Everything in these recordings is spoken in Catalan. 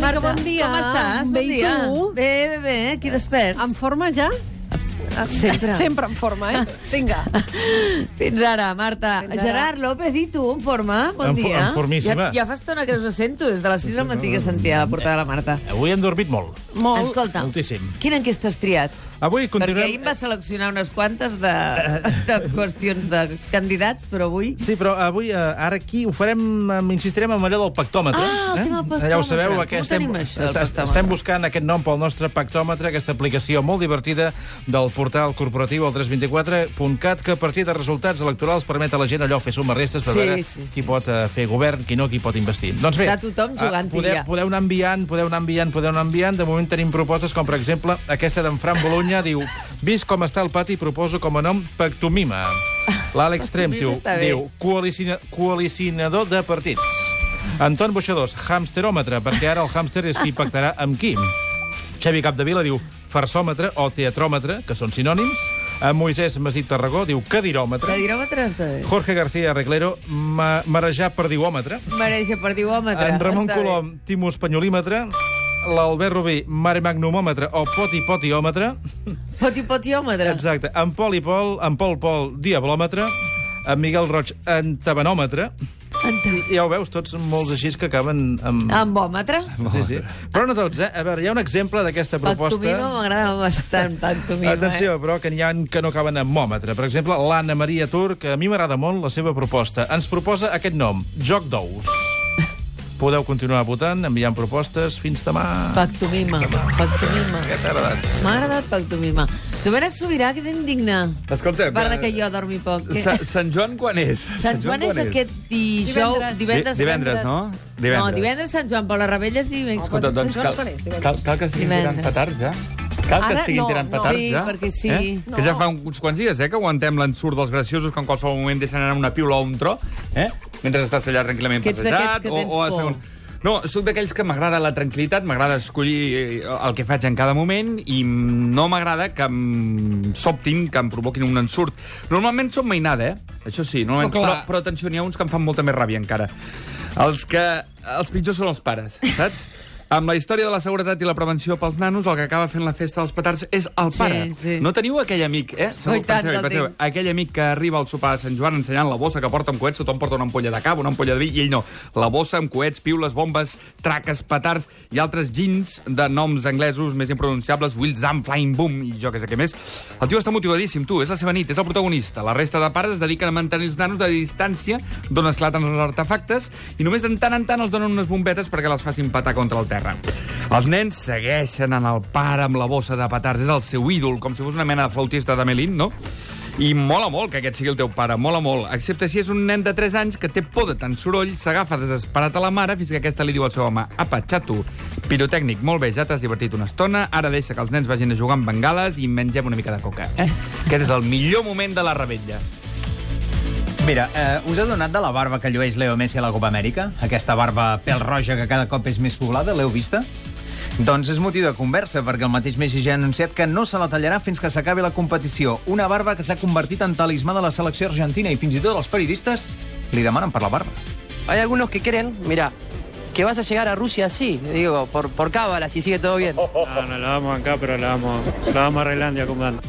Marta, bon dia. Com estàs? Bé, bon i dia. tu? Bé, bé, bé. Aquí desperts. En forma ja? Sempre. Sempre en forma, eh? Vinga. Fins ara, Marta. Fins ara. Gerard López, i tu, en forma? Bon En fo- dia. en formíssima. Ja, ja fa estona que us sento, des de les 6 del matí que sentia la portada de la Marta. Avui hem dormit molt, Molt. Escolta, moltíssim. quina enquesta has triat? Avui Perquè ahir em continuem... vas seleccionar unes quantes de, de qüestions de candidats, però avui... Sí, però avui, eh, ara aquí, ho farem, em insistirem en allò del pactòmetre. eh? Ah, el tema pactòmetre. Ja ho sabeu, Com aquest tenim això, el es- pactòmetre? estem buscant aquest nom pel nostre pactòmetre, aquesta aplicació molt divertida del portal corporatiu el 324.cat, que a partir de resultats electorals permet a la gent allò fer sumarrestes per Sí, veure sí, sí. qui pot eh, fer govern, qui no, qui pot investir. Doncs bé, Està tothom jugant-hi podeu, ja. podeu anar enviant, podeu anar enviant, podeu anar enviant. De moment tenim propostes com, per exemple, aquesta d'en Fran Bologna, diu, vist com està el pati, proposo com a nom Pactomima. L'Àlex Trems diu, està bé. diu coalicina, coalicinador de partits. Anton Boixadors, hamsteròmetre, perquè ara el hàmster és qui pactarà amb qui. Xavi Capdevila diu farsòmetre o teatròmetre, que són sinònims. En Moisès Masip Tarragó diu De cadiròmetre. diròmetre està bé. Jorge García Reglero, ma marejar perdiòmetre. Mereixer per diòmetre. En Ramon Està bé. Colom, timo espanyolímetre. L'Albert Rubí, mare magnumòmetre o potipotiòmetre. Potipotiòmetre. Exacte. En Pol i Pol, en Pol Pol, diablòmetre. En Miguel Roig, entabanòmetre. Ent- Ja ho veus, tots molts així que acaben amb... Ah. Ambòmetre. Sí, sí. Però no tots, eh? A veure, hi ha un exemple d'aquesta proposta... Pactomima m'agrada bastant, pactomima. Atenció, però, que n'hi ha que no acaben amb mòmetre. Per exemple, l'Anna Maria Tur, que a mi m'agrada molt la seva proposta. Ens proposa aquest nom, Joc d'Ous. Podeu continuar votant, enviant propostes. Fins Eh? demà. Pactomima, pactomima. Que t'ha agradat. M'ha agradat pactomima. Domènec Sobirà, que t'indigna. Escolta, eh, Parla que jo dormi poc. Sa, Sant Joan quan és? Sant Joan és aquest dijous... Divendres. Divendres, divendres, no? Divendres. No, divendres Sant Joan, però les rebelles divendres. Escolta, Sant doncs Joan cal, quan és? Divendres. cal, cal que estiguin tirant Divendres. petards, ja. Cal que Ara estiguin no, tirant no. petards, Sí, ja. perquè sí. Eh? No. Que ja fa uns quants dies, eh, que aguantem l'ensurt dels graciosos que en qualsevol moment deixen anar una piula o un tro, eh? Mentre estàs allà tranquil·lament Que ets d'aquests passejat que o, tens o a por. segon... No, sóc d'aquells que m'agrada la tranquil·litat, m'agrada escollir eh, el que faig en cada moment i no m'agrada que em sobtin, que em provoquin un ensurt. Normalment som mainada, eh? Això sí, normalment, Però però, clar. però atenció, n'hi ha uns que em fan molta més ràbia encara. Els que... Els pitjors són els pares, saps? Amb la història de la seguretat i la prevenció pels nanos, el que acaba fent la festa dels petards és el Sí, pare. sí. No teniu aquell amic, eh? Oh, i tant, penseu, el penseu, tinc. aquell amic que arriba al sopar de Sant Joan ensenyant la bossa que porta amb coets, tothom porta una ampolla de cava, una ampolla de vi, i ell no. La bossa amb coets, piules, bombes, traques, petards i altres gins de noms anglesos més impronunciables, Will Zam, Flying Boom i jo que sé què més. El tio està motivadíssim, tu, és la seva nit, és el protagonista. La resta de pares es dediquen a mantenir els nanos de distància d'on esclaten els artefactes i només de tant en tant els donen unes bombetes perquè les facin patar contra el terra. Els nens segueixen en el pare amb la bossa de petards, és el seu ídol, com si fos una mena de flautista de Melin, no? I mola molt que aquest sigui el teu pare, mola molt, excepte si és un nen de 3 anys que té por de tant soroll, s'agafa desesperat a la mare fins que aquesta li diu al seu home «Apa, xato, pirotècnic, molt bé, ja t'has divertit una estona, ara deixa que els nens vagin a jugar amb bengales i mengem una mica de coca». Eh? Aquest és el millor moment de la rebetlla. Mira, eh, us ha donat de la barba que llueix Leo Messi a la Copa Amèrica? Aquesta barba pèl roja que cada cop és més poblada, l'heu vista? Doncs és motiu de conversa, perquè el mateix Messi ja ha anunciat que no se la tallarà fins que s'acabi la competició. Una barba que s'ha convertit en talismà de la selecció argentina i fins i tot els periodistes li demanen per la barba. Hay algunos que creen, mira, que vas a llegar a Rusia así, digo, por, por cábala, si sigue todo bien. No, no, la vamos acá, pero la vamos, la vamos a Irlandia con banda.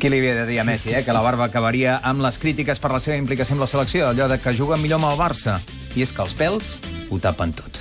Qui li havia de dir a Messi, eh, que la barba acabaria amb les crítiques per la seva implicació amb la selecció, allò de que juga millor amb el Barça. I és que els pèls ho tapen tot.